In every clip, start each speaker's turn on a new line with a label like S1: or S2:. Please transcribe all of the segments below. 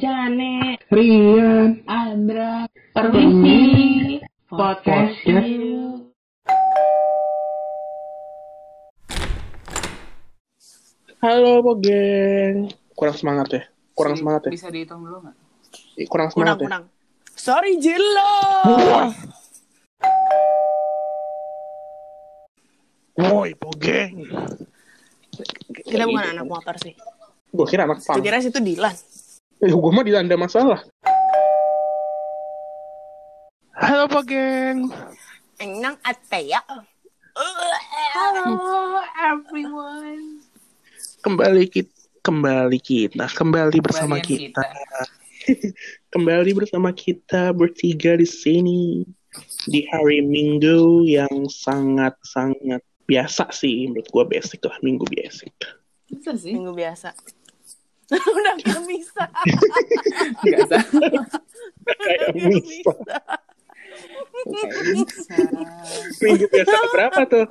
S1: Jane,
S2: Rian
S1: Andra, Permisi, Podcast
S2: Podcast.
S1: Yuk.
S2: Halo Pogeng Kurang semangat ya? Kurang semangat ya?
S3: Bisa dihitung dulu nggak?
S2: Ih, Kurang
S4: Kunang,
S2: semangat ya?
S4: kunang. Sorry, Jelo.
S2: Woi Pogeng
S4: Kita bukan anak motor sih.
S2: Gue kira anak pang
S4: Sekiranya situ Dilan.
S2: Eh gue mah dilanda masalah Halo Pogeng
S4: Enang Atea.
S1: Hello everyone.
S2: Kembali kita Kembali kita Kembali bersama
S3: Kembalian
S2: kita. Kembali bersama kita bertiga di sini Di hari Minggu yang sangat-sangat biasa sih Menurut gue basic lah Minggu basic
S3: Bisa sih.
S4: Minggu biasa. Udah gak bisa.
S3: Nggak bisa.
S2: Kayak
S4: Nggak
S2: mie
S4: bisa.
S3: Nggak bisa.
S2: Minggu biasa berapa tuh?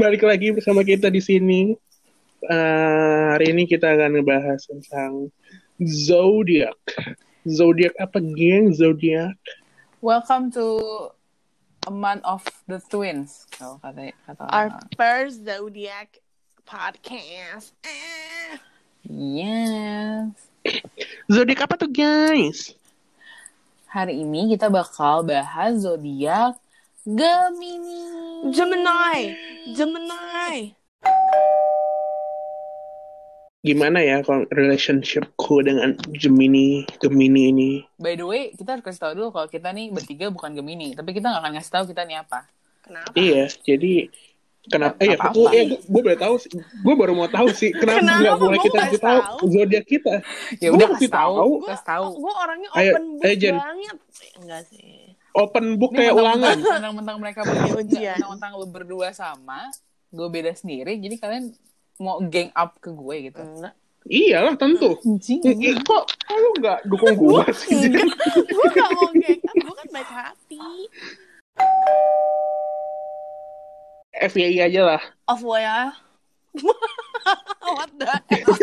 S2: Balik lagi bersama kita di sini. Eh, hari ini kita akan ngebahas tentang zodiak. Zodiak apa geng? Zodiak.
S3: Welcome to a month of the twins. Kalau kata kata.
S4: Our first Zodiac podcast. Eh.
S3: Yes.
S2: Zodiak apa tuh guys?
S3: Hari ini kita bakal bahas zodiak Gemini.
S4: Gemini. Gemini.
S2: Gimana ya kalau relationshipku dengan Gemini, Gemini ini?
S3: By the way, kita harus kasih tahu dulu kalau kita nih bertiga bukan Gemini, tapi kita nggak akan ngasih tahu kita nih apa.
S4: Kenapa?
S2: Iya, jadi kenapa? Eh,
S3: Apa-apa.
S2: aku, eh, gue boleh tahu sih. Gue baru mau tahu sih kenapa
S4: Kenapa?
S2: nggak boleh
S4: Mau
S2: kita
S4: kasih
S2: tahu
S4: tahu?
S2: zodiak kita.
S3: Ya
S2: Gua
S3: udah
S2: mesti
S3: kasih tahu,
S2: tahu.
S3: kasih tahu.
S4: Gue orangnya
S2: Ayo,
S4: open book
S2: ayo, Jen.
S4: banget. Enggak sih.
S2: Open book
S3: Ini
S2: kayak ulangan.
S3: mentang-mentang- Mentang-mentang mereka
S4: Ujian.
S3: berdua, enggak, mentang-mentang lu berdua sama, gue beda sendiri, jadi kalian mau gang up ke gue gitu.
S4: Enggak.
S2: Iyalah tentu.
S3: Anjing.
S2: Ih, Kok lu nggak dukung gua sih?
S4: Gue gak mau geng. Gue kan baik hati.
S2: FYI aja lah.
S4: Of ya. What the hell?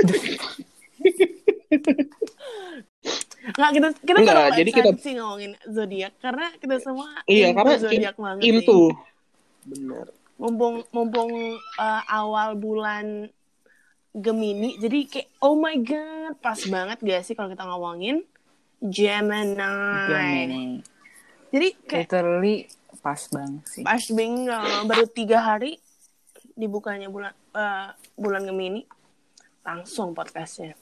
S4: Nggak, kita kita
S2: Nggak,
S4: terlalu
S2: jadi kita-
S4: excited sih ngomongin zodiak karena kita semua
S2: Iya,
S4: into
S2: karena
S4: zodiak banget sih.
S2: Into. Bener.
S4: Mumpung mumpung eh, awal bulan Gemini, jadi kayak oh my god, pas banget gak sih kalau kita ngomongin Gemini.
S3: Gemini.
S4: Jadi kayak
S3: Literally pas banget sih.
S4: pas bingung baru tiga hari dibukanya bulan eh, bulan Gemini langsung podcastnya.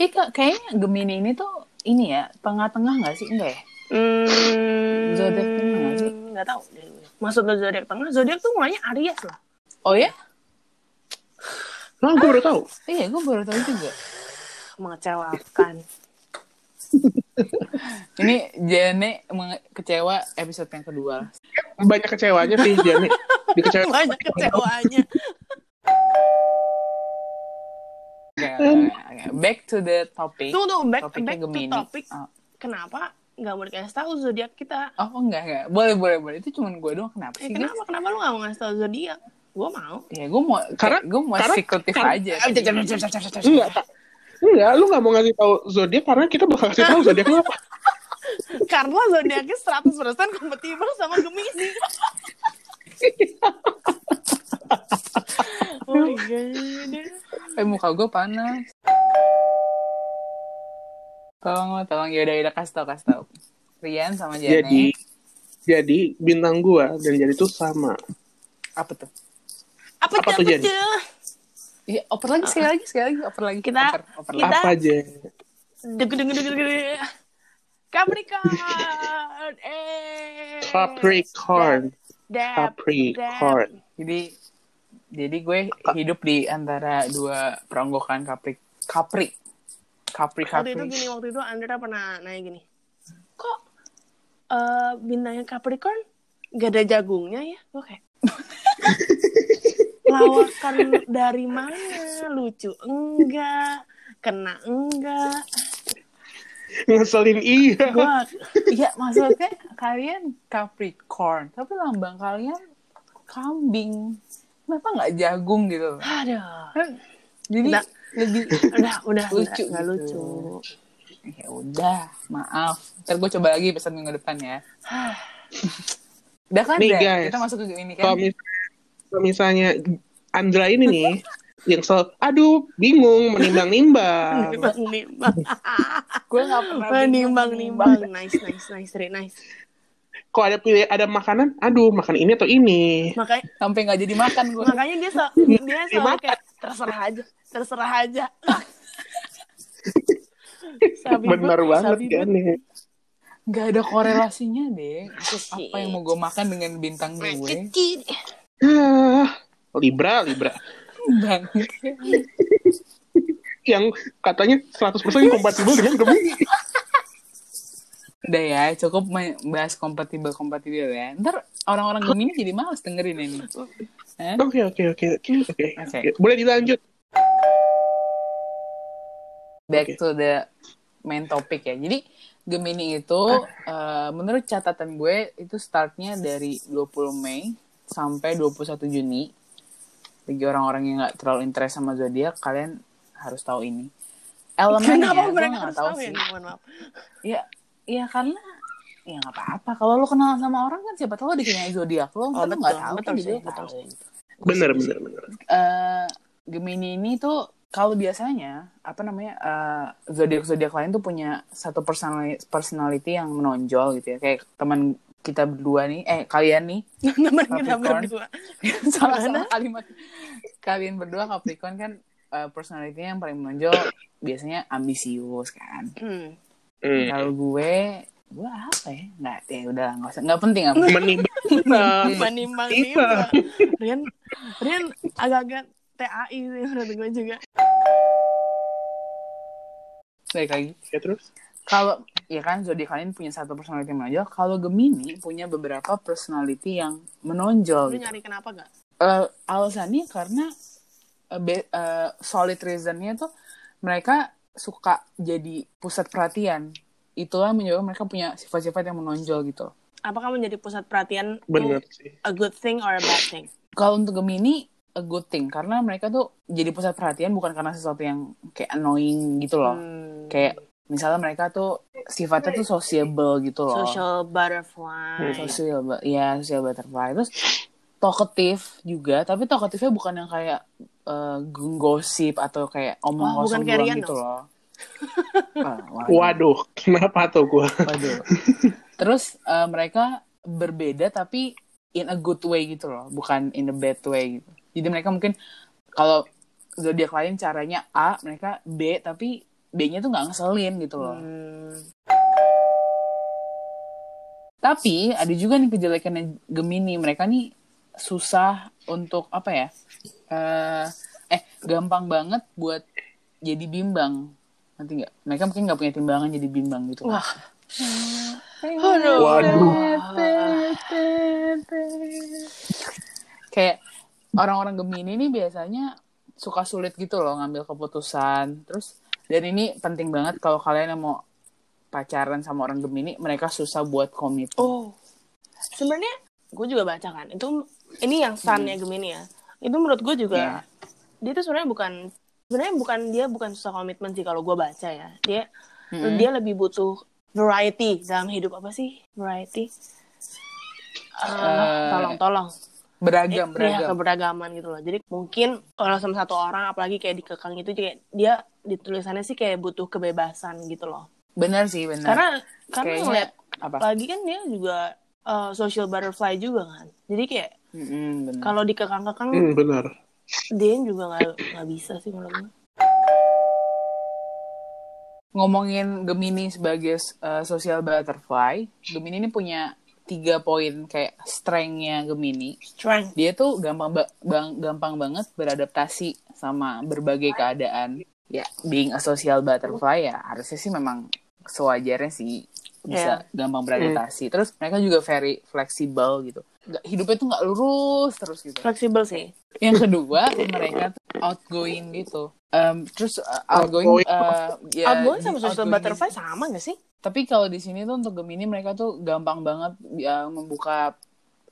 S3: Eh, kak, kayaknya Gemini ini tuh ini ya, tengah-tengah nggak sih? Enggak ya?
S4: Hmm,
S3: Zodiac tengah nggak sih?
S4: nggak tahu. deh gue. Masuk ke zodiak tengah, zodiak tuh mulanya Aries lah.
S3: Oh ya?
S2: Lah gua baru tahu.
S3: Iya, gue baru tahu juga.
S4: Mengecewakan.
S3: Ini Jane menge- kecewa episode yang kedua.
S2: Banyak kecewanya sih Jani. Dikecewa.
S4: Banyak kecewanya.
S3: Oke, oke, oke. Back to the topic.
S4: Tunggu tunggu back,
S3: Topiknya
S4: back to
S3: Gemini.
S4: topic.
S3: Oh.
S4: Kenapa nggak mau dikasih tahu zodiak kita?
S3: Oh enggak, enggak. Boleh, boleh, boleh. Itu cuma gue doang. Kenapa
S4: Eh,
S3: sih? guys?
S4: kenapa kenapa lu nggak mau ngasih tahu zodiak? Gue mau.
S3: Ya gue mau
S2: Karena-
S3: gue mau
S2: karena-
S3: eksekutif
S2: karena-
S3: aja.
S2: Enggak, Kak. Enggak, lu nggak mau ngasih tahu zodiak karena kita bakal kasih tahu zodiak lu apa.
S4: Karena zodiaknya 100% kompatibel sama Gemini. oh my god.
S3: Eh muka gue panas. Tolong, tolong. Yaudah, yaudah. Kasih tau, kasih tau. Rian sama E.
S4: Iya,
S3: Jane.
S2: Jadi jadi bintang gua dan jadi tuh sama.
S3: Apa tuh?
S4: Apa,
S2: Apa
S4: apa tuh,
S2: tuh,
S4: apa
S2: Jen?
S4: tuh?
S3: Iya, oper lagi, sekali lagi, sekali lagi. Oper lagi.
S4: Kita-
S3: oper, oper lagi.
S4: Kita-
S2: Apa aja?
S4: Deg deg deg deg deg. Capricorn. Eh.
S2: Capricorn.
S4: Dab.
S2: Capricorn.
S3: Jadi, jadi gue hidup di antara dua peronggokan Capri. Capri. Capri,
S4: Waktu
S3: Capri.
S4: itu gini, waktu itu Andra pernah nanya gini. Kok eh bintangnya Capricorn gak ada jagungnya ya? Gue kayak lawakan dari mana? Lucu enggak? Kena enggak?
S2: Ngeselin iya.
S4: Gua
S3: Iya, maksudnya kalian Capricorn. Tapi lambang kalian kambing. kenapa nggak jagung gitu loh.
S4: Aduh.
S3: Jadi
S4: Nah.
S3: lebih
S4: Udah, udah. Lucu.
S3: Lucu
S4: Gak,
S3: gitu.
S4: lucu.
S3: ya udah maaf. Ntar gue coba lagi pesan minggu depan ya. Udah kan
S2: Nih,
S3: Dra?
S2: guys.
S3: kita masuk ke ini
S2: Kalau
S3: kan.
S2: mis- kalau misalnya Andra ini nih yang selalu aduh bingung menimbang-nimbang.
S4: Nimbang, nimbang.
S3: Gue nggak pernah
S4: Nimbang, nimbang. Nice, nice, nice. Ri, nice.
S2: Kalau ada pilih ada makanan, aduh makan ini atau ini.
S4: Makanya,
S3: sampai nggak jadi makan gue.
S4: makanya dia so, dia selalu kayak terserah aja, terserah aja. Sabi bet,
S2: Bener banget
S4: sabi
S2: kan
S4: bet.
S2: nih.
S3: Nggak ada korelasinya deh. Apa yang mau gue makan dengan bintang gue?
S4: Kecil.
S2: Ah, Libra, Libra.
S3: Dan
S2: Yang katanya 100% kompatibel dengan Gemini.
S3: udah ya cukup bahas kompatibel kompatibel ya. Ntar orang-orang gemini jadi males dengerin ini. Hah?
S2: Oke, oke, oke, oke, oke.
S3: Oke.
S2: Boleh dilanjut.
S3: back
S2: Oke.
S3: to the main topic ya. Jadi Gemini itu
S4: Ah.
S3: eh, menurut catatan gue itu startnya dari 20 Mei sampai 21 Juni. Bagi orang-orang yang nggak terlalu interest sama zodiak, kalian harus tahu ini. Elemennya
S4: Kenapa
S3: gue
S4: mereka
S3: nggak
S4: harus
S3: tahu
S4: tahu ya?
S3: sih.
S4: nih? Mohon maaf.
S3: Ya, ya karena ya nggak apa-apa. Kalau lo kenal sama orang kan siapa tahu lo dikenal zodiak
S4: Oh,
S3: lo, ntar lo nggak
S4: betul,
S3: tahu
S4: betul
S3: kan jadi
S4: sih,
S3: lo
S4: betul
S3: tahu.
S2: Bener, bener, bener.
S3: Eh, Gemini ini tuh kalau biasanya apa namanya eh, zodiak-zodiak lain tuh punya satu personali- personality yang menonjol gitu ya kayak teman kita berdua nih eh kalian nih
S4: Teman kita
S3: Capricorn.
S4: berdua.
S3: salah salah kalimat kalian berdua Capricorn kan eh, personality-nya yang paling menonjol biasanya ambisius kan
S4: Hmm.
S2: Hmm.
S3: kalau gue gue apa ya nggak ya udah nggak usah nggak penting apa
S2: Menimbang.
S4: Menimbang nimbang.
S2: Tiba.
S4: Rian, Rian agak-agak TAI sih menurut gue juga.
S3: baik lagi
S2: Ya terus?
S3: kalau ya kan zodiak kalian punya satu personality yang menonjol kalau Gemini punya beberapa personality yang menonjol
S4: Lu
S3: gitu.
S4: nyari kenapa gak?
S3: Eh, alasannya karena eh, be- eh, solid reasonnya tuh mereka suka jadi pusat perhatian itulah menyebabkan mereka punya sifat-sifat yang menonjol gitu
S4: Apakah menjadi pusat perhatian tuh
S2: Bener sih.
S4: a good thing or a bad thing?
S3: kalau untuk Gemini a good thing karena mereka tuh jadi pusat perhatian bukan karena sesuatu yang kayak annoying gitu loh
S4: Hmm.
S3: kayak misalnya mereka tuh sifatnya tuh sociable gitu loh
S4: Social butterfly.
S3: sosial bu- ya sosial butterfly terus talkative juga tapi talkative-nya bukan yang kayak eh, genggosip atau kayak omong
S4: Wah, bukan
S3: kosong
S4: kayak
S3: doang
S4: Rian
S3: gitu
S4: dong.
S3: loh Ah, waduh,
S2: Waduh, kenapa tuh gue?
S3: waduh. terus eh, mereka berbeda tapi in a good way gitu loh bukan in a bad way gitu jadi mereka mungkin kalau zodiak lain caranya A mereka B tapi B-nya tuh nggak ngeselin gitu loh
S4: Hmm.
S3: Tapi ada juga nih kejelekannya Gemini. Mereka nih susah untuk apa ya? Eh, eh gampang banget buat jadi bimbang. Nanti nggak? Mereka mungkin nggak punya timbangan jadi bimbang gitu. Wah.
S4: Aduh.
S2: Waduh.
S3: Kayak orang-orang Gemini ini biasanya suka sulit gitu loh ngambil keputusan. Terus dan ini penting banget kalau kalian yang mau pacaran sama orang Gemini, mereka susah buat komit.
S4: Oh, sebenarnya gue juga baca kan. Itu ini yang sunnya
S3: Hmm.
S4: Gemini ya. Itu menurut gue
S3: Iya.
S4: juga dia tuh sebenarnya bukan sebenarnya bukan dia bukan susah komitmen sih kalau gue baca ya. Dia
S3: Mm-mm.
S4: dia lebih butuh variety dalam hidup apa sih variety?
S3: Eh,
S4: tolong tolong
S3: beragam
S4: Eh, iya,
S3: beragam
S4: keberagaman gitu loh jadi mungkin kalau sama satu orang apalagi kayak dikekang itu juga dia ditulisannya sih kayak butuh kebebasan gitu loh
S3: benar sih benar
S4: karena karena
S3: Nah, Kayaknya-
S4: ngeliat
S3: apa
S4: lagi kan dia juga uh, social butterfly juga kan jadi kayak
S3: Mm-mm, benar.
S4: kalau dikekang-kekang
S2: Hmm, bener.
S4: dia juga nggak nggak bisa sih menurut gue
S3: ngomongin Gemini sebagai uh, social butterfly Gemini ini punya tiga poin kayak strength-nya Gemini
S4: strength
S3: dia tuh gampang ba- bang- gampang banget beradaptasi sama berbagai keadaan ya being a social butterfly ya harusnya sih memang sewajarnya sih
S4: Ya.
S3: bisa
S4: Hmm.
S3: gampang beradaptasi terus mereka juga very fleksibel gitu Nggak- hidupnya tuh nggak lurus terus gitu
S4: fleksibel sih
S3: Yang kedua mereka tuh outgoing gitu. Em, terus uh, outgoing,
S2: Outgoing.
S3: eh, ya,
S4: outgoing
S3: di-
S4: sama social
S3: outgoing
S4: butterfly
S3: di-
S4: sama nggak sih
S3: Tapi kalau di sini tuh untuk Gemini mereka tuh gampang banget ya, membuka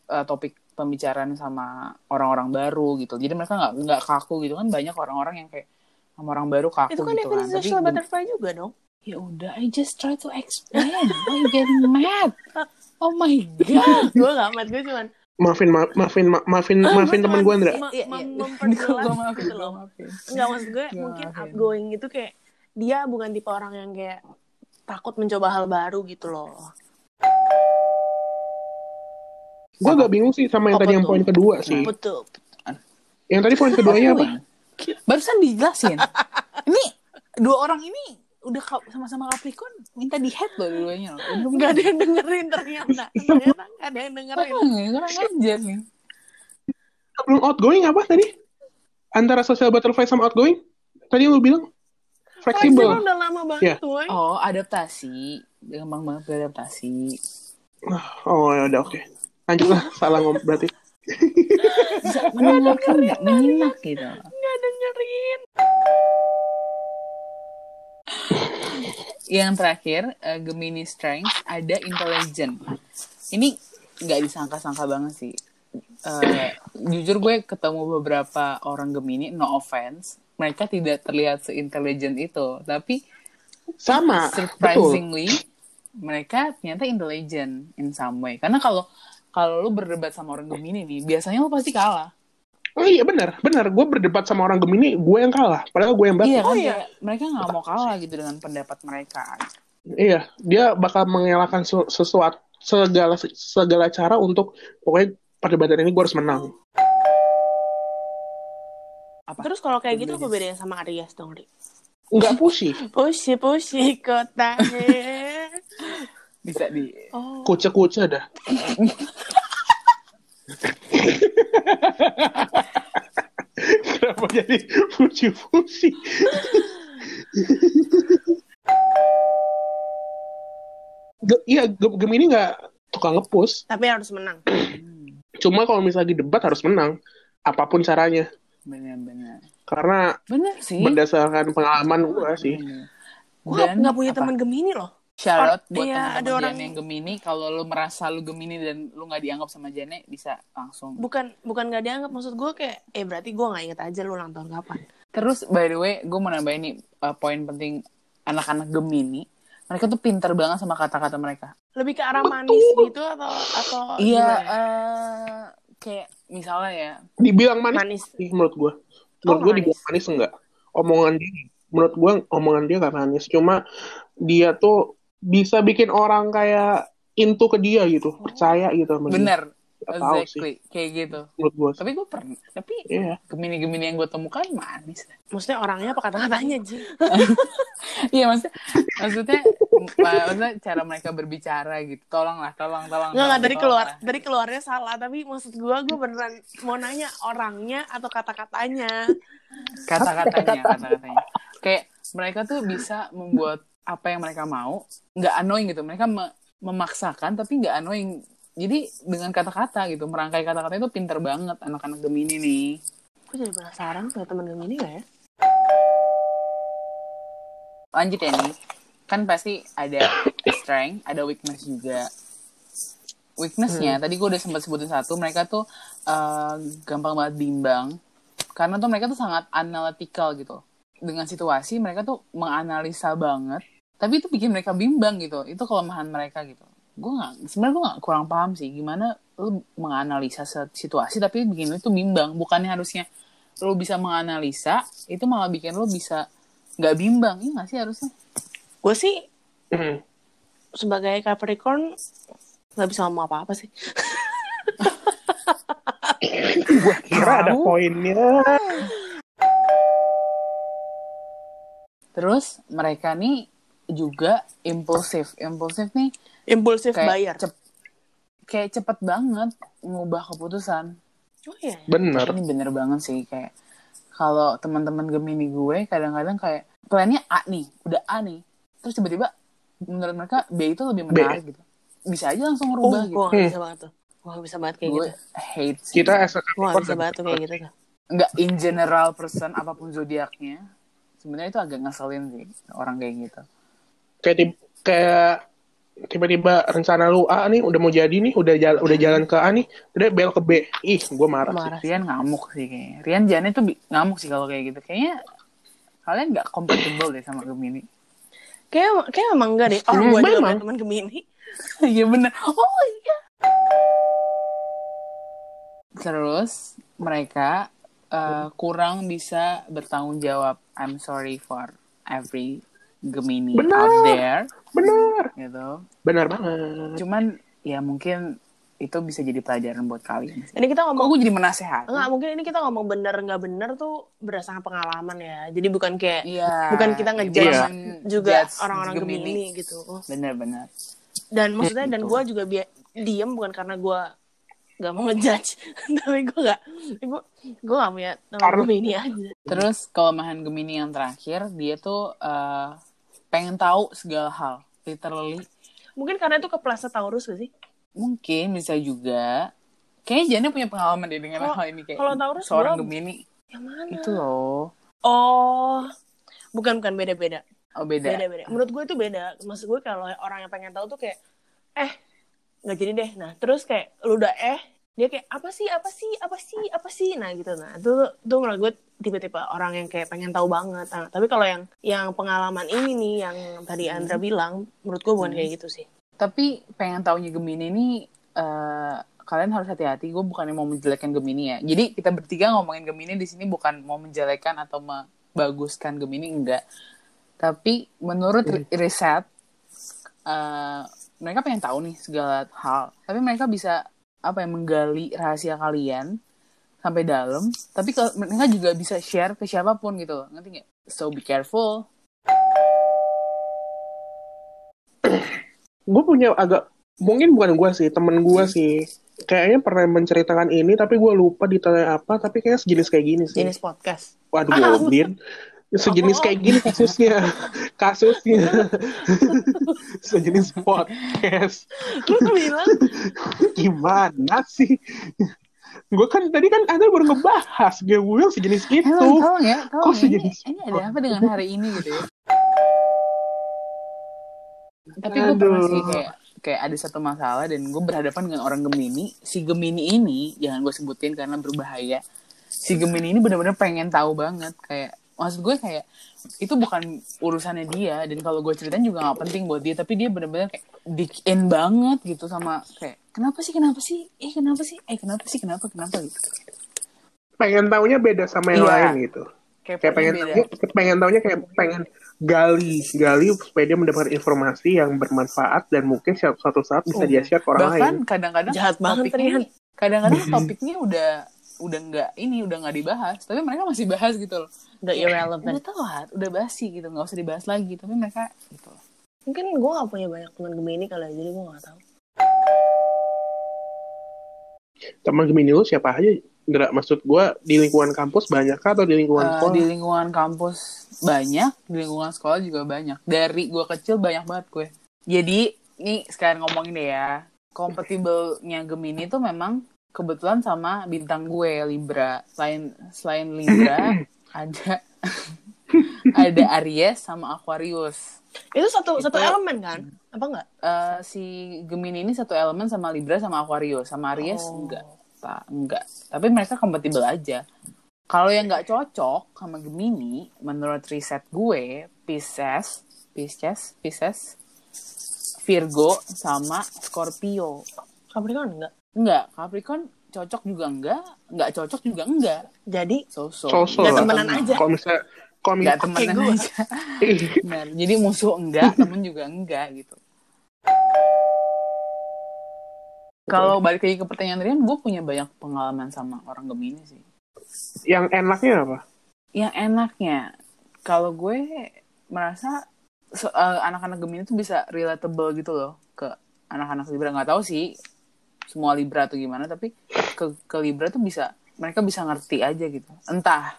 S3: eh, topik pembicaraan sama orang-orang baru gitu jadi mereka nggak nggak kaku gitu kan banyak orang-orang yang kayak sama orang baru kaku
S4: itu kan
S3: gitu kan
S4: definisi
S3: tapi
S4: social butterfly juga dong
S3: ya udah I just try to explain why you getting mad oh my god
S4: gue gak Ah, amat gue cuman
S2: Maafin, ma- maafin, ma- maafin,
S4: Ah,
S2: maafin
S4: gua cuman
S2: teman gue Andra.
S4: me-
S3: Iya,
S4: mem-
S3: iya.
S4: memperjelas
S3: Gua maafin,
S4: gitu
S3: gua
S4: loh
S3: maafin.
S4: nggak maksud gue
S3: Gua
S4: mungkin
S3: maafin.
S4: outgoing gitu kayak dia bukan tipe orang yang kayak takut mencoba hal baru gitu loh
S2: Gue agak bingung sih sama yang
S4: Apa
S2: tadi yang
S4: tuh?
S2: poin kedua sih.
S4: betul
S2: Yang tadi poin keduanya apa?
S3: Barusan dijelasin. ini dua orang ini udah ka- sama-sama Capricorn minta di head loh dua-duanya loh. Udah
S4: nggak ada yang dengerin ternyata ternyata nggak ada yang dengerin
S3: Kurang ya, kurang ajar nih.
S2: Sebelum outgoing apa tadi? Antara social butterfly sama outgoing? Tadi yang lu bilang?
S4: Fleksibel
S2: Fleksibel.
S4: udah lama
S2: Iya.
S4: banget boy.
S3: Oh, adaptasi. Gampang banget beradaptasi.
S2: Oh, ya udah oke. Lanjut lah, salah ngomong berarti.
S3: Bisa mendengarkan nggak? Menyimak gitu.
S4: nggak dengerin
S3: Yang terakhir, eh, Gemini Strength, ada intelligent. Ini nggak disangka-sangka banget sih. Eh, jujur gue ketemu beberapa orang Gemini, no offense. Mereka tidak terlihat seintelligent itu. Tapi
S4: Ah,
S2: Sama, betul.
S3: surprisingly mereka ternyata intelligent in some way karena kalau kalau lu berdebat sama orang Gemini nih biasanya lu pasti kalah
S2: Oh iya benar, benar. Gue berdebat sama orang Gemini, gue yang kalah. Padahal gue yang batal.
S3: iya kan
S4: Oh, iya.
S3: kayak mereka nggak mau kalah gitu dengan pendapat mereka
S2: Iya, dia bakal mengelakkan se- sesuatu segala segala cara untuk pokoknya perdebatan ini gue harus menang.
S3: apa
S4: terus kalau kayak gitu apa bedanya sama Aries dong Ri
S2: Nggak pushy,
S4: pushi pushi kotanya
S3: bisa di
S4: oh
S2: kuce-kuce dah. Kenapa jadi puji-puji? Ge- iya, Ge- Gemini nggak tukang ngepush.
S4: tapi harus menang
S3: Hmm,
S2: Cuma kalau misalnya debat harus menang, apapun caranya.
S3: benar-benar
S2: Karena
S3: benar sih
S4: Hmm?
S2: berdasarkan pengalaman gue sih.
S4: gue
S3: Dan
S4: nggak punya
S3: apa?
S4: teman gemini loh
S3: Shout out
S4: Or-
S3: buat
S4: iya,
S3: teman-teman
S4: ada orang-
S3: Jan yang Gemini kalau lu merasa lu Gemini dan lu nggak dianggap sama Jane bisa langsung
S4: bukan bukan nggak dianggap maksud gue kayak eh berarti gue nggak inget aja lu ulang tahun kapan
S3: Terus by the way, gue mau nambahin nih uh, poin penting anak-anak Gemini. Mereka tuh pinter banget sama kata-kata mereka.
S4: lebih ke arah
S2: Betul.
S4: manis gitu atau atau
S3: Iya,
S4: gimana? ya?
S3: eh, kayak misalnya ya,
S2: Dibilang manis,
S4: manis
S2: sih menurut gue. Menurut
S4: Oh,
S2: gue
S4: manis.
S2: dibilang manis enggak. Omongan dia, menurut gue omongan dia gak manis. Cuma dia tuh bisa bikin orang kayak into ke dia gitu.
S4: Oh.
S2: Percaya gitu sama dia.
S3: bener,
S2: Nggak tahu sih
S3: exactly, kayak gitu.
S2: menurut gue.
S3: Tapi gue pernah, tapi
S2: Iya.
S3: Gemini-Gemini yang gue temukan manis.
S4: maksudnya orangnya apa kata-katanya Ji
S3: Iya maksudnya, maksudnya, maksudnya cara mereka berbicara gitu. Tolonglah, tolong, tolong.
S4: nggak nggak
S3: tolong,
S4: dari keluar
S3: tolonglah.
S4: dari keluarnya salah tapi maksud gue gue beneran mau nanya orangnya atau kata-katanya
S3: kata-katanya kata-katanya kayak mereka tuh bisa membuat apa yang mereka mau nggak annoying gitu mereka me- memaksakan tapi nggak annoying jadi dengan kata-kata gitu merangkai kata-kata itu pinter banget anak-anak gemini nih
S4: gue jadi penasaran punya teman gemini nggak ya
S3: lanjut ya nih kan pasti ada strength ada weakness juga weaknessnya tadi gue udah sempat sebutin satu mereka tuh eh, gampang banget bimbang karena tuh mereka tuh sangat analytical gitu dengan situasi mereka tuh menganalisa banget tapi itu bikin mereka bimbang gitu itu kelemahan mereka gitu gue nggak sebenarnya gue nggak kurang paham sih gimana lu menganalisa se- situasi tapi bikin lu tuh bimbang bukannya harusnya lu bisa menganalisa itu malah bikin lu bisa nggak bimbang ya nggak sih harusnya
S4: gue sih
S2: Hmm.
S4: sebagai Capricorn nggak bisa ngomong apa-apa sih
S2: Kira ada poinnya.
S3: terus mereka nih juga impulsif impulsif nih
S4: impulsif
S3: kayak
S4: bayar
S3: cep- kayak cepet banget ngubah keputusan
S4: oh iya
S2: Bener.
S3: ini bener banget sih kayak kalau teman-teman gemini gue kadang-kadang kayak plannya A nih udah A nih terus tiba-tiba menurut mereka B itu lebih menarik gitu bisa aja langsung
S4: oh,
S3: ngerubah
S4: gue
S2: Hmm.
S3: gitu
S4: nggak bisa banget tuh gue nggak bisa banget kayak
S3: gue
S4: gitu
S3: hate sih.
S2: Kita as a kan.
S4: gue nggak bisa
S2: Capricorn,
S4: banget tuh kayak gitu tuh
S3: nggak in general person apapun zodiaknya sebenarnya itu agak ngeselin sih orang kayak gitu
S2: kayak tim- kayak tiba-tiba rencana lu A nih udah mau jadi nih udah jalan udah jalan ke A nih udah belok ke B ih gue marah, sih.
S3: Marah. Rian ngamuk sih kayaknya. Rian Jane tuh bi- ngamuk sih kalau kayak gitu. Kayaknya kalian nggak compatible deh sama Gemini.
S4: Kayak kayak emang enggak deh. Oh, Orang
S2: Hmm,
S4: gue juga
S2: memang.
S4: punya teman Gemini.
S3: Iya bener. Oh iya. Terus mereka
S4: Hmm.
S3: uh, kurang bisa bertanggung jawab. I'm sorry for every Gemini
S2: Benar.
S3: out there
S2: benar
S3: gitu.
S2: benar banget
S3: Cuman ya mungkin itu bisa jadi pelajaran buat kalian.
S4: Ini kita
S3: Kok
S4: ngomong
S3: gue jadi menasehat?
S4: Enggak, mungkin ini kita ngomong bener nggak bener tuh berdasarkan pengalaman ya. Jadi bukan kayak
S3: Iya.
S4: bukan kita ngejudge
S2: Iya.
S4: juga orang-orang Gemini. gitu.
S3: Bener-bener.
S4: Dan maksudnya dan
S3: gitu.
S4: gue juga bi- diem bukan karena gue nggak mau ngejudge, tapi gue nggak, gue gue nggak punya teman
S2: Harus.
S4: Gemini aja.
S3: Terus kelemahan Gemini yang terakhir dia tuh eh, pengen tahu segala hal, literally
S4: Mungkin karena itu kepleset Taurus gak sih?
S3: mungkin bisa juga. Kayaknya Jana punya pengalaman deh dengan
S4: Kalau-
S3: hal ini kayak
S4: kalau Taurus
S3: seorang
S4: belum.
S3: Gemini
S4: Yang mana?
S3: itu loh.
S4: Oh, bukan bukan beda-beda.
S3: Oh beda.
S4: beda beda menurut gue itu beda maksud gue kalau orang yang pengen tahu tuh kayak eh nggak jadi deh nah terus kayak lu udah eh dia kayak apa sih apa sih apa sih apa sih nah gitu nah itu itu menurut gue tipe-tipe orang yang kayak pengen tahu banget Nah, tapi kalau yang yang pengalaman ini nih yang tadi Andra bilang menurut gue bukan
S3: Hmm.
S4: kayak gitu sih
S3: Tapi pengen tahunya Gemini ini eh, kalian harus hati-hati. Gue bukan mau menjelekkan Gemini ya. Jadi kita bertiga ngomongin Gemini di sini bukan mau menjelekkan atau membaguskan Gemini enggak. Tapi menurut ri- riset eh, mereka pengen tahu nih segala hal. Tapi mereka bisa apa ya menggali rahasia kalian sampai dalam. Tapi ke- mereka juga bisa share ke siapapun gitu. loh. Ngerti nggak? So be careful.
S2: gue punya agak mungkin bukan gue sih temen gue sih kayaknya pernah menceritakan ini tapi gue lupa detailnya apa tapi kayak sejenis kayak gini sih
S3: Iya.
S4: jenis podcast
S2: waduh goblin sejenis kayak gini kasusnya kasusnya sejenis podcast
S4: lu tuh bilang
S2: gimana sih gue kan tadi kan anda baru ngebahas gue bilang sejenis itu
S3: Halo, tolong ya,
S2: Kok
S3: tolong ya. Ini,
S2: sejenis-
S3: ini ada apa dengan hari ini gitu ya? Tapi gue
S2: Aduh.
S3: pernah sih kayak kayak ada satu masalah dan gue berhadapan dengan orang Gemini. Si Gemini ini jangan gue sebutin karena berbahaya. Si Gemini ini benar-benar pengen tahu banget kayak maksud gue kayak itu bukan urusannya dia dan kalau gue ceritain juga nggak penting buat dia tapi dia benar-benar kayak dig in banget gitu sama kayak kenapa sih kenapa sih eh kenapa sih eh kenapa sih kenapa kenapa gitu
S2: pengen taunya beda sama yang
S3: Iya.
S2: lain gitu kayak pengen
S3: beda.
S2: taunya, pengen taunya kayak pengen gali gali supaya dia mendapatkan informasi yang bermanfaat dan mungkin suatu, suatu saat bisa dia share ke orang
S3: Oh. bahkan
S2: lain Hmm.
S3: kadang-kadang
S4: Jahat banget, Rian.
S3: topiknya- kadang-kadang topiknya udah udah nggak ini udah nggak dibahas tapi mereka masih bahas gitu loh Nah,
S4: the irrelevant
S3: udah telat udah basi gitu nggak usah dibahas lagi tapi mereka gitu loh.
S4: mungkin gue gak punya banyak teman Gemini kali ya, jadi gue gak tahu
S2: teman gemini lu siapa aja Indra maksud gue di lingkungan kampus banyak kah atau di lingkungan
S3: Eh,
S2: sekolah
S3: di lingkungan kampus banyak di lingkungan sekolah juga banyak dari gue kecil banyak banget gue jadi nih sekarang ngomongin deh ya compatible-nya Gemini tuh memang kebetulan sama bintang gue Libra selain selain Libra ada ada Aries sama Aquarius
S4: itu satu satu
S3: Itu-
S4: elemen kan apa enggak
S3: Eh, si Gemini ini satu elemen sama Libra sama Aquarius sama Aries
S4: Oh.
S3: enggak pak enggak tapi mereka kompatibel aja kalau yang nggak cocok sama Gemini menurut riset gue Pisces Pisces Pisces Virgo sama Scorpio
S4: Capricorn enggak
S3: enggak Capricorn cocok juga enggak enggak cocok juga enggak
S4: jadi
S3: so so
S2: sosok
S4: Nggak temenan aja.
S2: kalau misalnya kalau misalnya
S3: enggak temenan
S4: Kayak gue.
S3: aja Benar. Jadi musuh enggak, temen juga enggak gitu. Kalau balik lagi ke pertanyaan Rian, gue punya banyak pengalaman sama orang Gemini sih.
S2: yang enaknya apa
S3: Yang enaknya, kalau gue merasa so- eh, anak-anak Gemini tuh bisa relatable gitu loh ke anak-anak Libra. Nggak tahu sih semua Libra atau gimana, tapi ke, ke Libra tuh bisa, mereka bisa ngerti aja gitu. Entah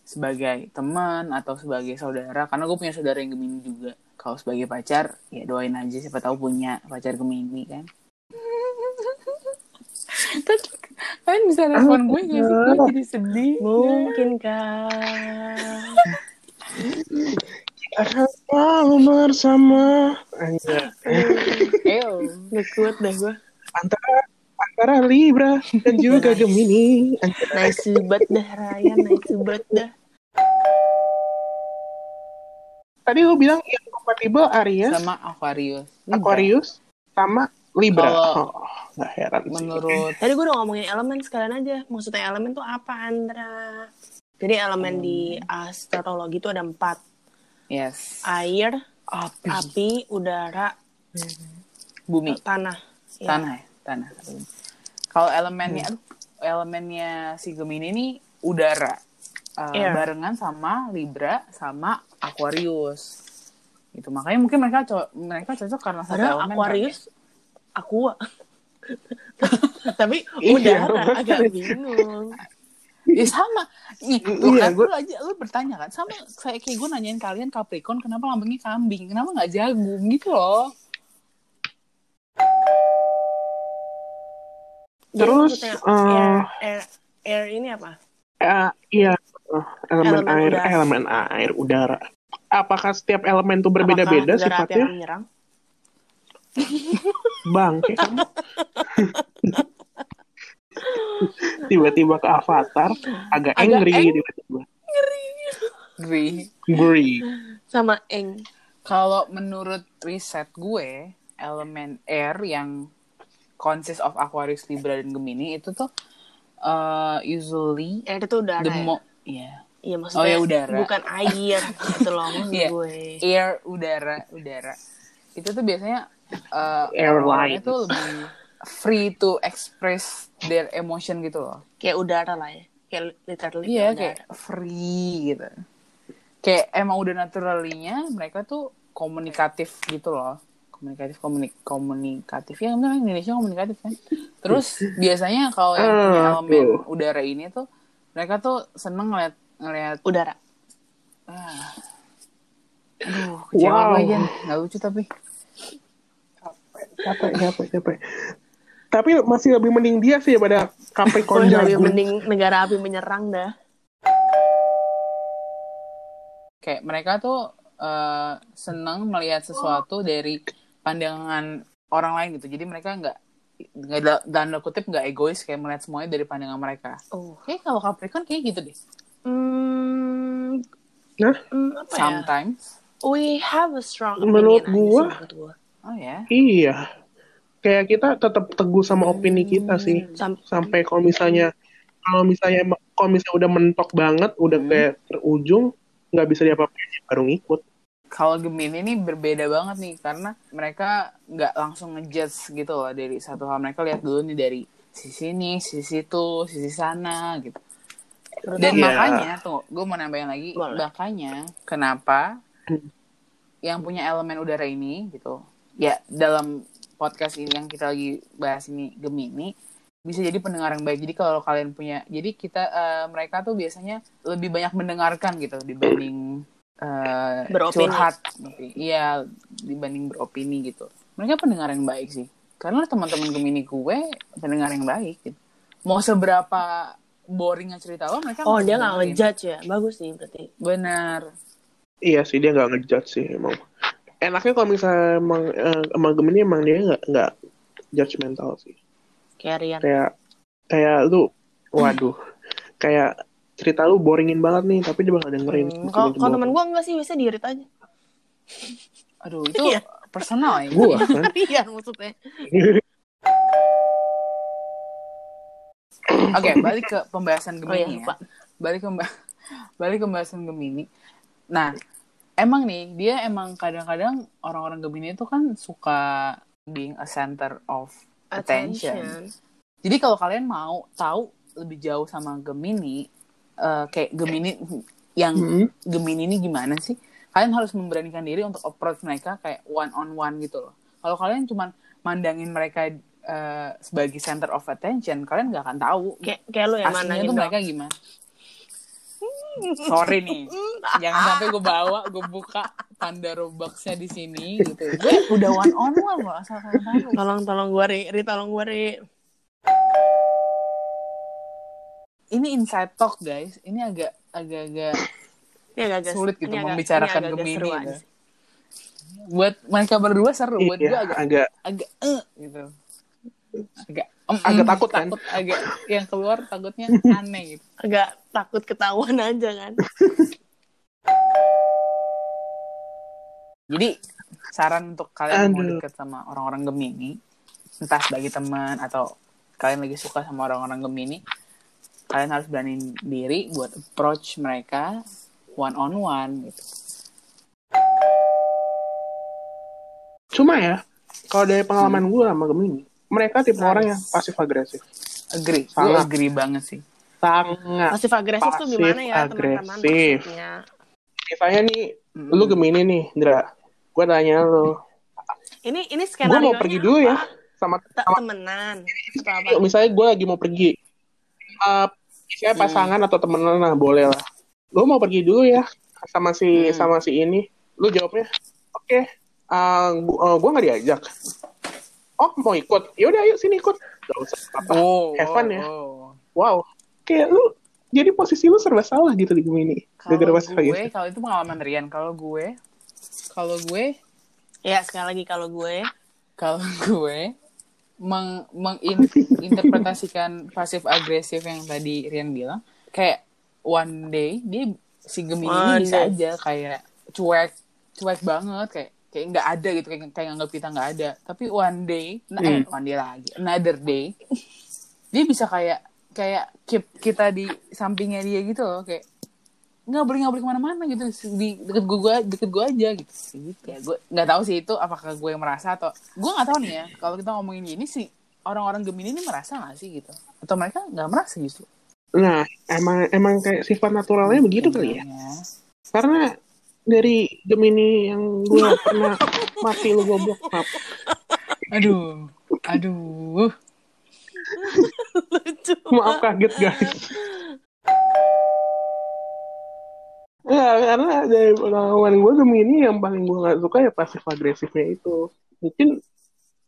S3: sebagai teman atau sebagai saudara karena gue punya saudara yang gemini juga kalau sebagai pacar ya doain aja siapa tahu punya pacar gemini kan Tapi kalian bisa respon gue gak sih gue jadi sedih
S4: Mungkin
S2: Hmm.
S4: kan.
S2: Akan selalu bersama Anja.
S3: Eyo.
S4: Gak kuat deh gue.
S2: Antara antara Libra dan juga
S4: Nice.
S2: Gemini. Anja.
S4: Nice banget dah Ryan, nice banget dah.
S2: Tadi lu bilang yang kompatibel Aries,
S3: Sama Aquarius.
S2: Aquarius, sama Libra.
S3: Kalau-
S2: Oh, nggak heran sih.
S3: Menurut
S4: Tadi gue udah ngomongin elemen sekalian aja. Maksudnya elemen tuh apa, Andra? Jadi elemen di
S2: Hmm.
S4: astrologi itu ada empat.
S3: yes.
S4: Air,
S2: Hmm.
S3: Api.
S4: api, udara,
S3: Bumi.
S4: tanah. Ya.
S3: Tanah ya. Tanah. Kalau elemennya, aduh, elemennya si Gemini ini udara. Uh,
S4: Air.
S3: Barengan sama Libra sama Aquarius. Itu makanya mungkin mereka co- mereka cocok karena satu
S4: Padahal
S3: elemen. ya.
S4: Aquarius, aqua. Tapi
S2: Iya,
S4: udara agak
S2: makanya.
S4: bingung.
S3: Kali ya. Ya, sama. Nih,
S2: Iya,
S3: lu, kan,
S2: gua-
S3: lu aja lu bertanya kan sama saya kayak gue nanyain kalian Capricorn kenapa lambangnya kambing, kenapa nggak jagung gitu loh.
S4: Jadi
S2: Terus,
S4: Iya, maksudnya
S2: eh,
S4: air, air, air ini apa?
S2: Eh, iya, eh, elemen,
S4: Elemen
S2: air,
S4: udara.
S2: elemen air, udara. Apakah setiap elemen itu
S4: Apakah
S2: berbeda-beda
S4: udara api
S2: sifatnya?
S4: akan menyerang?
S2: Bang, kayak kamu. tiba-tiba ke avatar agak angry
S3: ang-
S2: tiba-tiba
S3: Gri.
S2: angry
S4: Sama eng.
S3: Kalau menurut riset gue, elemen air yang consist of Aquarius, Libra, dan Gemini itu tuh uh, usually
S4: Air itu udara.
S3: the
S4: ya?
S3: mo- ya.
S4: Iya
S3: Oh,
S4: maksudnya
S3: ya, udara.
S4: bukan air gitu loh maksud
S3: Iya.
S4: gue.
S3: air udara udara itu tuh biasanya uh,
S2: Airline.
S3: orangnya tuh lebih free to express their emotion gitu loh.
S4: Kayak udara lah ya. Kayak literally
S3: Iya
S2: Gitu,
S4: kayak
S2: nah.
S3: kayak free gitu. Kayak emang udah naturalnya mereka tuh komunikatif gitu loh. Komunikatif komunik komunikatif ya bener Indonesia komunikatif kan. Terus biasanya kalau yang punya
S2: Ah,
S3: elemen
S2: tuh.
S3: udara ini tuh mereka tuh seneng ngeliat ngeliat
S4: udara.
S3: ah. Aduh, kecewa
S2: Wow.
S3: gue aja. Gak lucu tapi.
S2: capek capek capek tapi masih lebih mending dia sih daripada
S4: Wah,
S2: Capricorn
S4: lebih
S2: jagung
S4: mending negara api menyerang dah.
S3: kayak mereka tuh eh, seneng melihat sesuatu dari pandangan orang lain gitu jadi mereka nggak nggak da- dalam tanda kutip nggak egois kayak melihat semuanya dari pandangan mereka
S4: Oh.
S3: kayak kalau Capricorn kayak gitu deh
S4: Hmm,
S2: Nah,
S4: hmm,
S3: Oh,
S4: apa ya?
S3: sometimes
S4: We have a strong opinion
S2: Menurut
S4: aja sih,
S2: gua.
S4: menurut gua.
S3: oh ya
S2: iya kayak kita tetap teguh sama opini kita sih
S4: Sam-
S2: sampai kalau misalnya kalau misalnya emang- kalau misalnya udah mentok banget udah
S3: Hmm.
S2: kayak terujung nggak bisa diapa-apain ya baru ngikut
S3: kalau Gemini ini berbeda banget nih karena mereka nggak langsung ngejudge gitu loh dari satu hal mereka lihat dulu nih dari sisi ini sisi itu sisi sana gitu
S4: menurut
S3: Dan
S2: Iya.
S3: makanya tuh, gue mau nambahin lagi,
S4: Boleh.
S3: makanya kenapa yang punya elemen udara ini gitu, ya dalam podcast ini yang kita lagi bahas ini Gemini bisa jadi pendengar yang baik. Jadi kalau kalian punya, jadi kita eh, mereka tuh biasanya lebih banyak mendengarkan gitu dibanding eh,
S4: Beropini.
S3: curhat, iya dibanding beropini gitu. Mereka pendengar yang baik sih, karena teman-teman Gemini gue pendengar yang baik. Gitu. Mau seberapa boringnya cerita lo, mereka
S4: Oh,
S3: Kan masih
S4: dia nggak
S3: dengerin.
S4: ngejudge ya. Bagus sih berarti.
S3: Bener.
S2: Iya sih dia nggak ngejudge sih emang. Enaknya kalau misalnya emang eh, emang Gemini emang dia nggak nggak judgmental sih.
S4: Kayak Rian.
S2: Kayak kayak lu, waduh, kayak cerita lu boringin banget nih tapi dia bakal dengerin.
S4: Hmm, Kalau kalau teman gua enggak sih, biasanya diirit aja.
S3: Aduh, itu
S4: Iya.
S3: personal ya.
S2: Gua kan.
S4: Rian maksudnya.
S3: Oke, balik ke pembahasan
S4: Oh iya,
S3: Gemini ya.
S4: lupa.
S3: Balik ke pemba- balik ke pembahasan Gemini. Nah, emang nih dia emang kadang-kadang orang-orang Gemini itu kan suka being a center of attention.
S4: Attention.
S3: Jadi kalau kalian mau tahu lebih jauh sama Gemini, eh, kayak Gemini yang
S2: Hmm.
S3: Gemini ini gimana sih? Kalian harus memberanikan diri untuk approach mereka kayak one on one gitu loh. Kalau kalian cuman mandangin mereka eh, sebagai center of attention, kalian nggak akan tahu
S4: Kayak kayak lu yang mana
S3: aslinya
S4: gitu.
S3: tuh mereka gimana. Sorry nih, jangan sampai gue bawa, gue buka tanda roboxnya di sini gitu. Gue udah one on one loh, asal kalian tahu.
S4: Tolong tolong gua Ri, Ri tolong gua Ri.
S3: Ini inside talk guys, ini agak agak-agak
S4: Ini iya, agak
S3: sulit gitu membicarakan Gemini. gitu. buat mereka berdua seru buat gue
S2: Iya,
S3: agak
S2: agak
S3: agak eh gitu agak em, em,
S2: Agak takut, kan?
S3: agak yang keluar takutnya aneh gitu
S4: agak takut ketahuan aja kan
S2: Nah,
S3: jadi saran untuk kalian yang mau
S2: Aduh.
S3: deket sama orang-orang gemini entah sebagai teman atau kalian lagi suka sama orang-orang gemini kalian harus beraniin diri buat approach mereka one on one gitu
S2: cuma ya kalau dari pengalaman
S3: Hmm.
S2: gue sama Gemini mereka tipe orang yang pasif agresif
S3: agree gue
S2: Sangat.
S3: agree banget sih
S2: sangat
S4: pasif agresif tuh gimana ya teman-teman
S2: Pasif-agresif.
S4: maksudnya
S2: misalnya nih
S3: Mm-mm.
S2: lu Gemini nih Indra gue tanya lu
S4: ini ini
S2: gue
S4: skenario
S2: mau pergi dulu ya sama
S4: tak temenan atau apa
S2: Yuk, misalnya gue lagi mau pergi Eh, saya
S3: Hmm.
S2: pasangan atau temenan lah boleh lah gue mau pergi dulu ya sama si
S3: Hmm.
S2: sama si ini lu jawabnya oke ah, gue nggak diajak oh mau ikut yaudah ayo sini ikut gak usah apa
S3: oh,
S2: Have fun ya.
S3: oh.
S2: wow kayak lu jadi posisi lu serba salah gitu di Gemini gara-gara
S3: Kalau
S2: pasif
S3: gue,
S2: agresif
S3: kalau itu pengalaman Rian. Kalau gue, kalau gue,
S4: ya sekali lagi kalau gue
S3: kalau gue meng- menginterpretasikan pasif agresif yang tadi Rian bilang, kayak one day dia si Gemini ini
S4: One
S3: bisa
S4: day.
S3: aja kayak cuek, cuek banget kayak kayak nggak ada gitu kayak kayak nganggap kita nggak ada. Tapi one day, nah
S4: Hmm.
S3: eh, one day lagi, another day, dia bisa kayak kayak keep kita di sampingnya dia gitu loh kayak nggak boleh nggak boleh kemana-mana gitu di deket gue deket gue aja gitu gitu ya gue nggak tahu sih itu apakah gue yang merasa atau gue nggak tahu nih ya kalau kita ngomongin ini sih orang-orang gemini ini merasa nggak sih gitu atau mereka nggak merasa gitu? justru
S2: nah emang emang kayak sifat naturalnya begitu kali
S4: Iya.
S2: ya
S3: Sebenarnya.
S2: karena dari Gemini yang gue pernah mati lu goblok maaf
S3: aduh aduh
S4: lucu
S2: Maaf kaget guys. Ya, karena dari pengalaman gue Gemini yang paling gue gak suka ya pasif agresifnya itu. Mungkin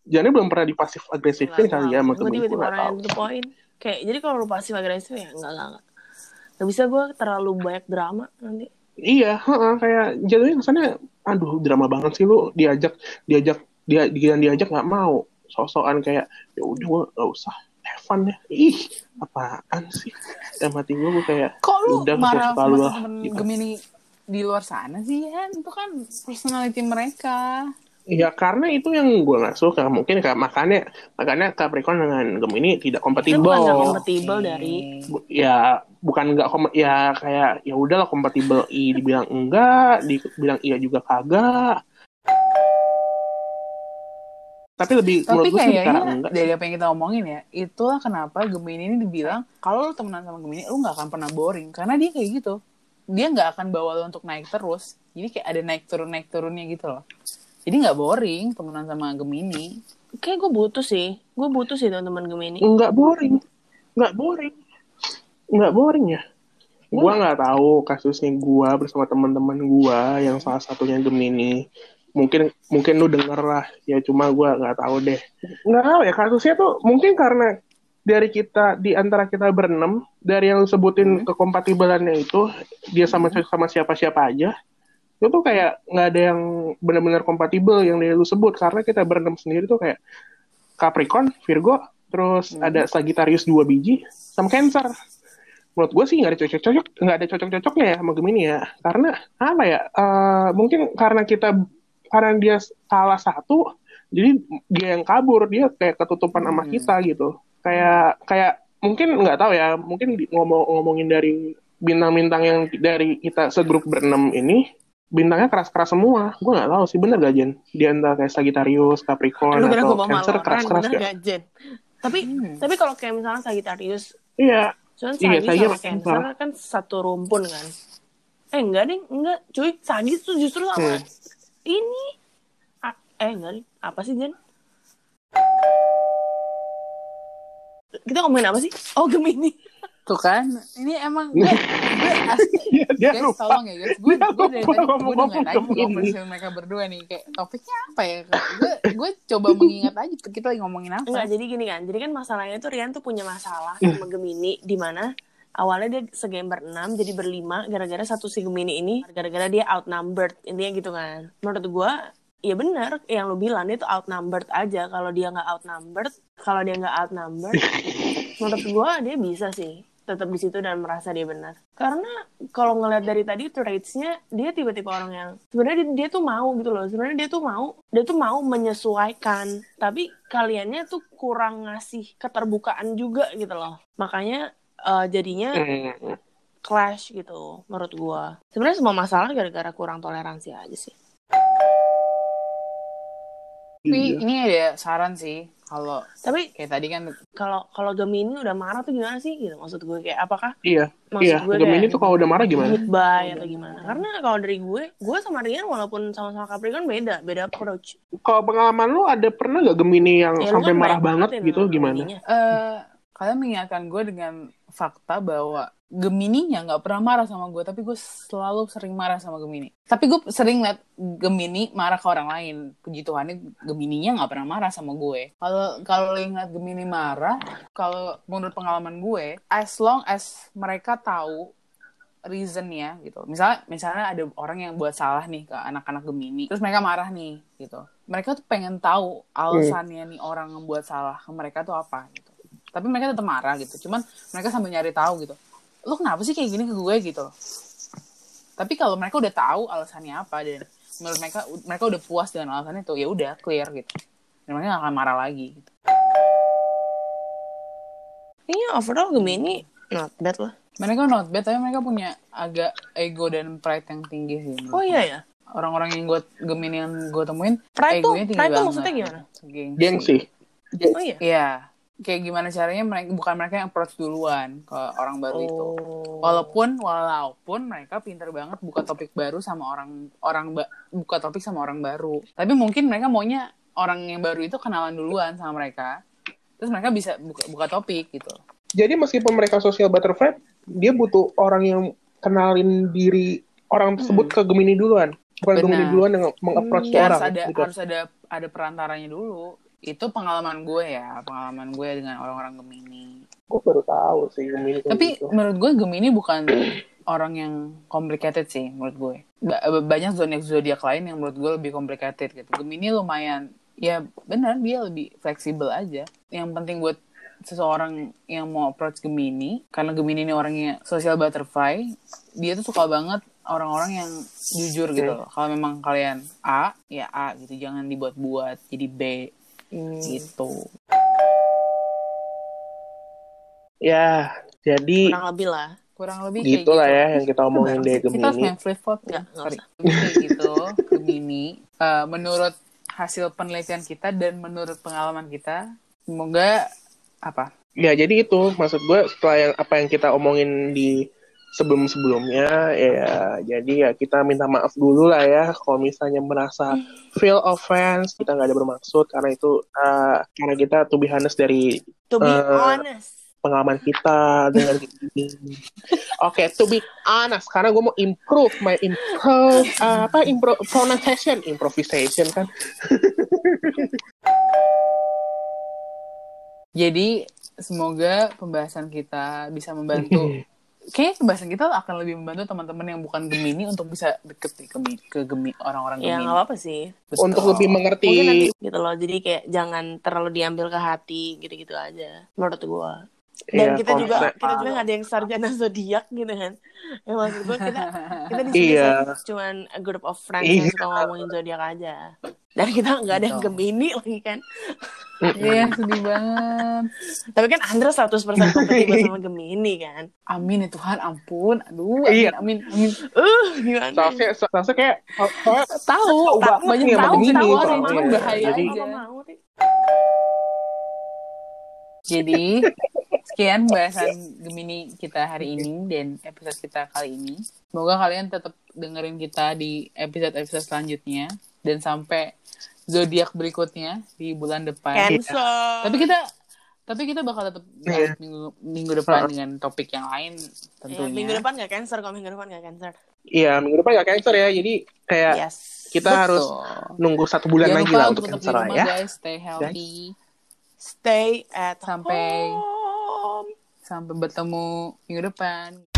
S2: Jane belum pernah dipasif agresifin
S4: Nggak
S2: kali
S4: tahu.
S2: ya sama
S4: Gue
S2: temen gue
S4: tiba-tiba
S2: gak
S4: orang yang
S2: tau.
S4: to the point kayak jadi kalau lu pasif agresif ya enggak enggak enggak Nggak bisa gue terlalu banyak drama nanti
S2: Iya, heeh, kayak jadinya kesannya, aduh drama banget sih lu diajak diajak dia dia diajak nggak mau sosokan kayak ya udah gue gak usah have fun ya ih apaan sih dalam hati gue gue kayak
S3: kok lu
S2: udah
S3: marah
S2: suka lu
S3: sama
S2: lah
S3: temen
S2: gitu.
S3: gemini di luar sana sih ya itu kan personality mereka
S2: Ya karena itu yang gue nggak suka mungkin kayak makanya makanya Capricorn dengan Gemini tidak
S4: itu bukan nggak
S2: kompatibel.
S4: kompatibel dari
S2: Bu- Ya bukan nggak kom ya kayak ya udahlah kompatibel i dibilang enggak, dibilang iya juga kagak. Tapi lebih
S3: Tapi
S2: menurut gue sih karena
S3: kayaknya
S2: enggak.
S3: dari apa yang kita omongin ya, itulah kenapa Gemini ini dibilang kalau lu temenan sama Gemini lu nggak akan pernah boring karena dia kayak gitu. Dia nggak akan bawa lu untuk naik terus. Jadi kayak ada naik turun naik turunnya gitu loh. Jadi nggak boring temenan sama Gemini.
S4: kayak gue butuh sih gue butuh sih teman-teman gemini
S2: Enggak boring. Enggak boring. Enggak boring ya. Gua nggak tahu kasusnya gua bersama teman-teman gua yang salah satunya Gemini. Mungkin mungkin lu denger lah. Ya cuma gua nggak tahu deh. Nggak tahu ya kasusnya tuh mungkin karena dari kita di antara kita berenam dari yang lu sebutin kekompatibelannya itu dia sama sama siapa-siapa aja itu tuh kayak nggak ada yang benar-benar kompatibel yang dari lu sebut karena kita berenam sendiri tuh kayak Capricorn, Virgo, terus
S4: Hmm.
S2: ada Sagittarius dua biji, sama Cancer. Menurut gue sih nggak ada cocok-cocok, nggak ada cocok-cocoknya ya sama Gemini ya. Karena apa ya? eh, mungkin karena kita karena dia salah satu, jadi dia yang kabur, dia kayak ketutupan
S4: Hmm.
S2: sama kita gitu. Kayak kayak mungkin nggak tahu ya, mungkin di- ngomong ngomongin dari bintang-bintang yang dari kita segrup berenam ini bintangnya keras-keras semua. Gue nggak tahu sih bener gak Jen? Di antara kayak Sagittarius, Capricorn
S4: lu kira
S2: atau
S4: gue mau malu
S2: Cancer
S4: orang
S2: keras-keras
S4: bener
S2: ya?
S4: nggak Jen tapi
S3: Hmm.
S4: tapi kalau kayak misalnya Sagittarius
S2: Iya,
S4: cuman
S2: Iya,
S4: Sagitarius
S2: Sagi
S4: sama
S2: makin
S4: Cancer kan satu rumpun kan eh enggak deh enggak cuy Sagit tuh justru sama
S2: Hmm.
S4: ini A- eh enggak deh apa sih Jen kita ngomongin apa sih oh Gemini
S3: Tuh kan, ini emang gue, gue asli
S2: Iya, dia
S3: guys
S2: lupa.
S3: tolong ya guys gue
S2: Dia
S3: gue dari
S2: lupa
S3: tadi gue
S2: ngomong-ngomong
S3: dengerin aja
S2: Gemini.
S3: ngobrol mereka berdua nih kayak topiknya apa ya gue gue coba mengingat aja kita lagi ngomongin
S2: Iya.
S3: apa
S4: Enggak, jadi gini kan. Jadi kan masalahnya tuh Rian tuh punya masalah sama Gemini di mana awalnya dia segambar 6 jadi berlima gara-gara satu si Gemini ini gara-gara dia outnumbered intinya gitu kan. Menurut gua ya bener yang lu bilang dia tuh outnumbered aja kalau dia nggak outnumbered kalau dia nggak outnumbered menurut gua dia bisa sih tetap di situ dan merasa dia benar karena kalau ngelihat dari tadi traits-nya dia tiba-tiba orang yang sebenarnya dia, dia tuh mau gitu loh sebenarnya dia tuh mau dia tuh mau menyesuaikan tapi kaliannya tuh kurang ngasih keterbukaan juga gitu loh makanya eh, jadinya
S2: Hmm.
S4: clash gitu menurut gua sebenarnya semua masalah gara-gara kurang toleransi aja sih
S3: Tapi
S2: Iya.
S3: ini ada saran sih kalau
S4: tapi
S3: kayak tadi kan
S4: kalau kalau Gemini udah marah tuh gimana sih gitu maksud gue kayak apakah
S2: Iya,
S4: maksud
S2: iya.
S4: gue Hmm.
S2: Gemini tuh kalau udah marah gimana?
S4: goodbye atau gimana Iya, karena kalau dari gue gue sama Rian walaupun sama-sama Capricorn beda beda approach
S2: Kalau pengalaman lu ada pernah gak Gemini yang
S4: Ya, lu
S2: Oh, sampai
S4: kan
S2: marah
S4: baik
S2: banget
S4: ya
S2: gitu
S4: sama
S2: gimana?
S4: Gemininya.
S3: eh kalian mengingatkan gue dengan fakta bahwa Gemininya nggak pernah marah sama gue, tapi gue selalu sering marah sama Gemini. Tapi gue sering liat Gemini marah ke orang lain. Puji Tuhan, Gemininya nggak pernah marah sama gue. Kalau kalau ingat Gemini marah, kalau menurut pengalaman gue, as long as mereka tahu reasonnya gitu. Misalnya misalnya ada orang yang buat salah nih ke anak-anak Gemini, terus mereka marah nih gitu. Mereka tuh pengen tahu alasannya nih orang yang buat salah ke mereka tuh apa gitu. Tapi mereka tetap marah gitu. Cuman mereka sambil nyari tahu gitu. Lu kenapa sih kayak gini ke gue gitu loh. Tapi kalau mereka udah tahu alasannya apa dan menurut mereka mereka udah puas dengan alasannya tuh ya udah clear gitu. Dan mereka gak akan marah lagi gitu.
S4: kayaknya Iya, overall Gemini not bad lah
S3: Mereka not bad tapi mereka punya agak ego dan pride yang tinggi sih. menurut
S4: oh iya ya
S3: orang-orang yang gue Gemini yang gue temuin
S4: Pride tuh-
S3: egonya tinggi
S4: pride tuh
S3: banget.
S4: maksudnya gimana?
S3: Gengsi.
S2: Geng sih.
S4: oh iya
S3: Iya. Kayak gimana caranya mereka bukan mereka yang approach duluan ke orang baru
S4: gitu.
S3: itu.
S4: Oh.
S3: Walaupun walaupun mereka pinter banget buka topik baru sama orang orang ba- buka topik sama orang baru. Tapi mungkin mereka maunya orang yang baru itu kenalan duluan sama mereka. Terus mereka bisa buka, buka topik gitu.
S2: Jadi meskipun mereka social butterfly, dia butuh orang yang kenalin diri orang tersebut ke Gemini duluan. Bukan
S3: Benar.
S2: Gemini duluan yang meng-approach
S4: Hmm,
S2: ke
S3: Ya,
S2: orang.
S3: harus ada
S2: gitu.
S3: harus ada ada perantaranya dulu. Itu pengalaman gue ya, pengalaman gue dengan orang-orang Gemini.
S2: Gue baru tahu sih Gemini kayak
S3: Tapi
S2: gitu.
S3: menurut gue Gemini bukan orang yang complicated sih menurut gue. Ba- banyak zodiak zodiak lain yang menurut gue lebih complicated gitu. Gemini lumayan ya benar dia lebih fleksibel aja. Yang penting buat seseorang yang mau approach Gemini karena Gemini ini orangnya social butterfly, dia tuh suka banget orang-orang yang jujur gitu loh. Kalau memang kalian A, ya A gitu, jangan dibuat-buat jadi B gitu.
S2: Ya, jadi
S4: kurang lebih lah
S3: Kurang lebih kayak gitu.
S2: gitulah ya yang kita omongin
S3: Kita
S2: dari
S3: Kita harus
S2: Gemini.
S3: main flip flop ya.
S4: Nggak, nggak
S3: Sorry. Kayak gitu, Gemini. Eh, menurut hasil penelitian kita dan menurut pengalaman kita, semoga apa?
S2: Ya, jadi itu maksud gue setelah yang apa yang kita omongin di sebelum-sebelumnya ya jadi ya kita minta maaf dulu lah ya kalau misalnya merasa feel offense kita nggak ada bermaksud karena itu eh, karena kita to be honest dari
S4: to be
S2: Eh,
S4: honest
S2: pengalaman kita dengan gini. Oke, to be honest, karena gue mau improve my improve apa impro pronunciation, improvisation kan.
S3: Jadi semoga pembahasan kita bisa membantu. Kayaknya pembahasan kita akan lebih membantu teman-teman yang bukan Gemini untuk bisa deket nih ke, Gemi- ke Gemi- orang-orang
S4: ya
S3: Gemini.
S4: nggak apa-apa sih
S3: Betul.
S2: Untuk lebih mengerti
S4: mungkin nanti gitu loh jadi kayak jangan terlalu diambil ke hati gitu-gitu aja menurut gua dan
S2: ya,
S4: kita juga
S2: konsep.
S4: kita juga nggak ada yang sarjana zodiak gitu kan ya maksud gue kita kita di sini
S2: Iya.
S4: cuman a group of friends yang
S2: Iya.
S4: suka ngomongin zodiak aja dan kita nggak ada yang
S3: Betul.
S4: gemini lagi kan
S3: Iya, sedih banget.
S4: tapi kan Andra 100% kompetitif sama gemini kan
S3: Amin ya Tuhan, ampun. Aduh,
S2: Iya.
S3: amin, amin. amin.
S4: uh gimana
S2: Seharusnya, seharusnya kayak oh, soalnya
S3: Tahu,
S2: Tahu
S3: banyak
S2: nih sama
S3: tahu,
S2: ya Gemini,
S3: tahu,
S2: soalnya.
S3: cuman bahaya
S2: Iya, Jadi-
S3: aja.
S4: Apa mau sih?
S3: Jadi sekian pembahasan Gemini kita hari ini dan episode kita kali ini. Semoga kalian tetap dengerin kita di episode-episode selanjutnya dan sampai zodiak berikutnya di bulan
S2: Iya. Kan.
S3: depan.
S4: cancel
S3: Tapi kita tapi kita bakal tetap
S2: Iya.
S3: bahas minggu, minggu depan dengan topik yang lain
S4: Ya, minggu
S3: tentunya.
S4: depan nggak cancer kalau minggu depan nggak cancer
S2: iya minggu depan gak cancer ya. Jadi kayak
S4: yes
S2: kita
S3: Iya. Betul. Iya,
S2: harus nunggu satu bulan
S3: Jangan
S2: lagi
S3: lupa
S2: lah untuk
S3: tetap di
S2: cancer
S3: rumah,
S2: ya.
S3: guys, stay healthy.
S4: stay at
S3: Sampai-
S4: home
S3: Sampai bertemu minggu depan.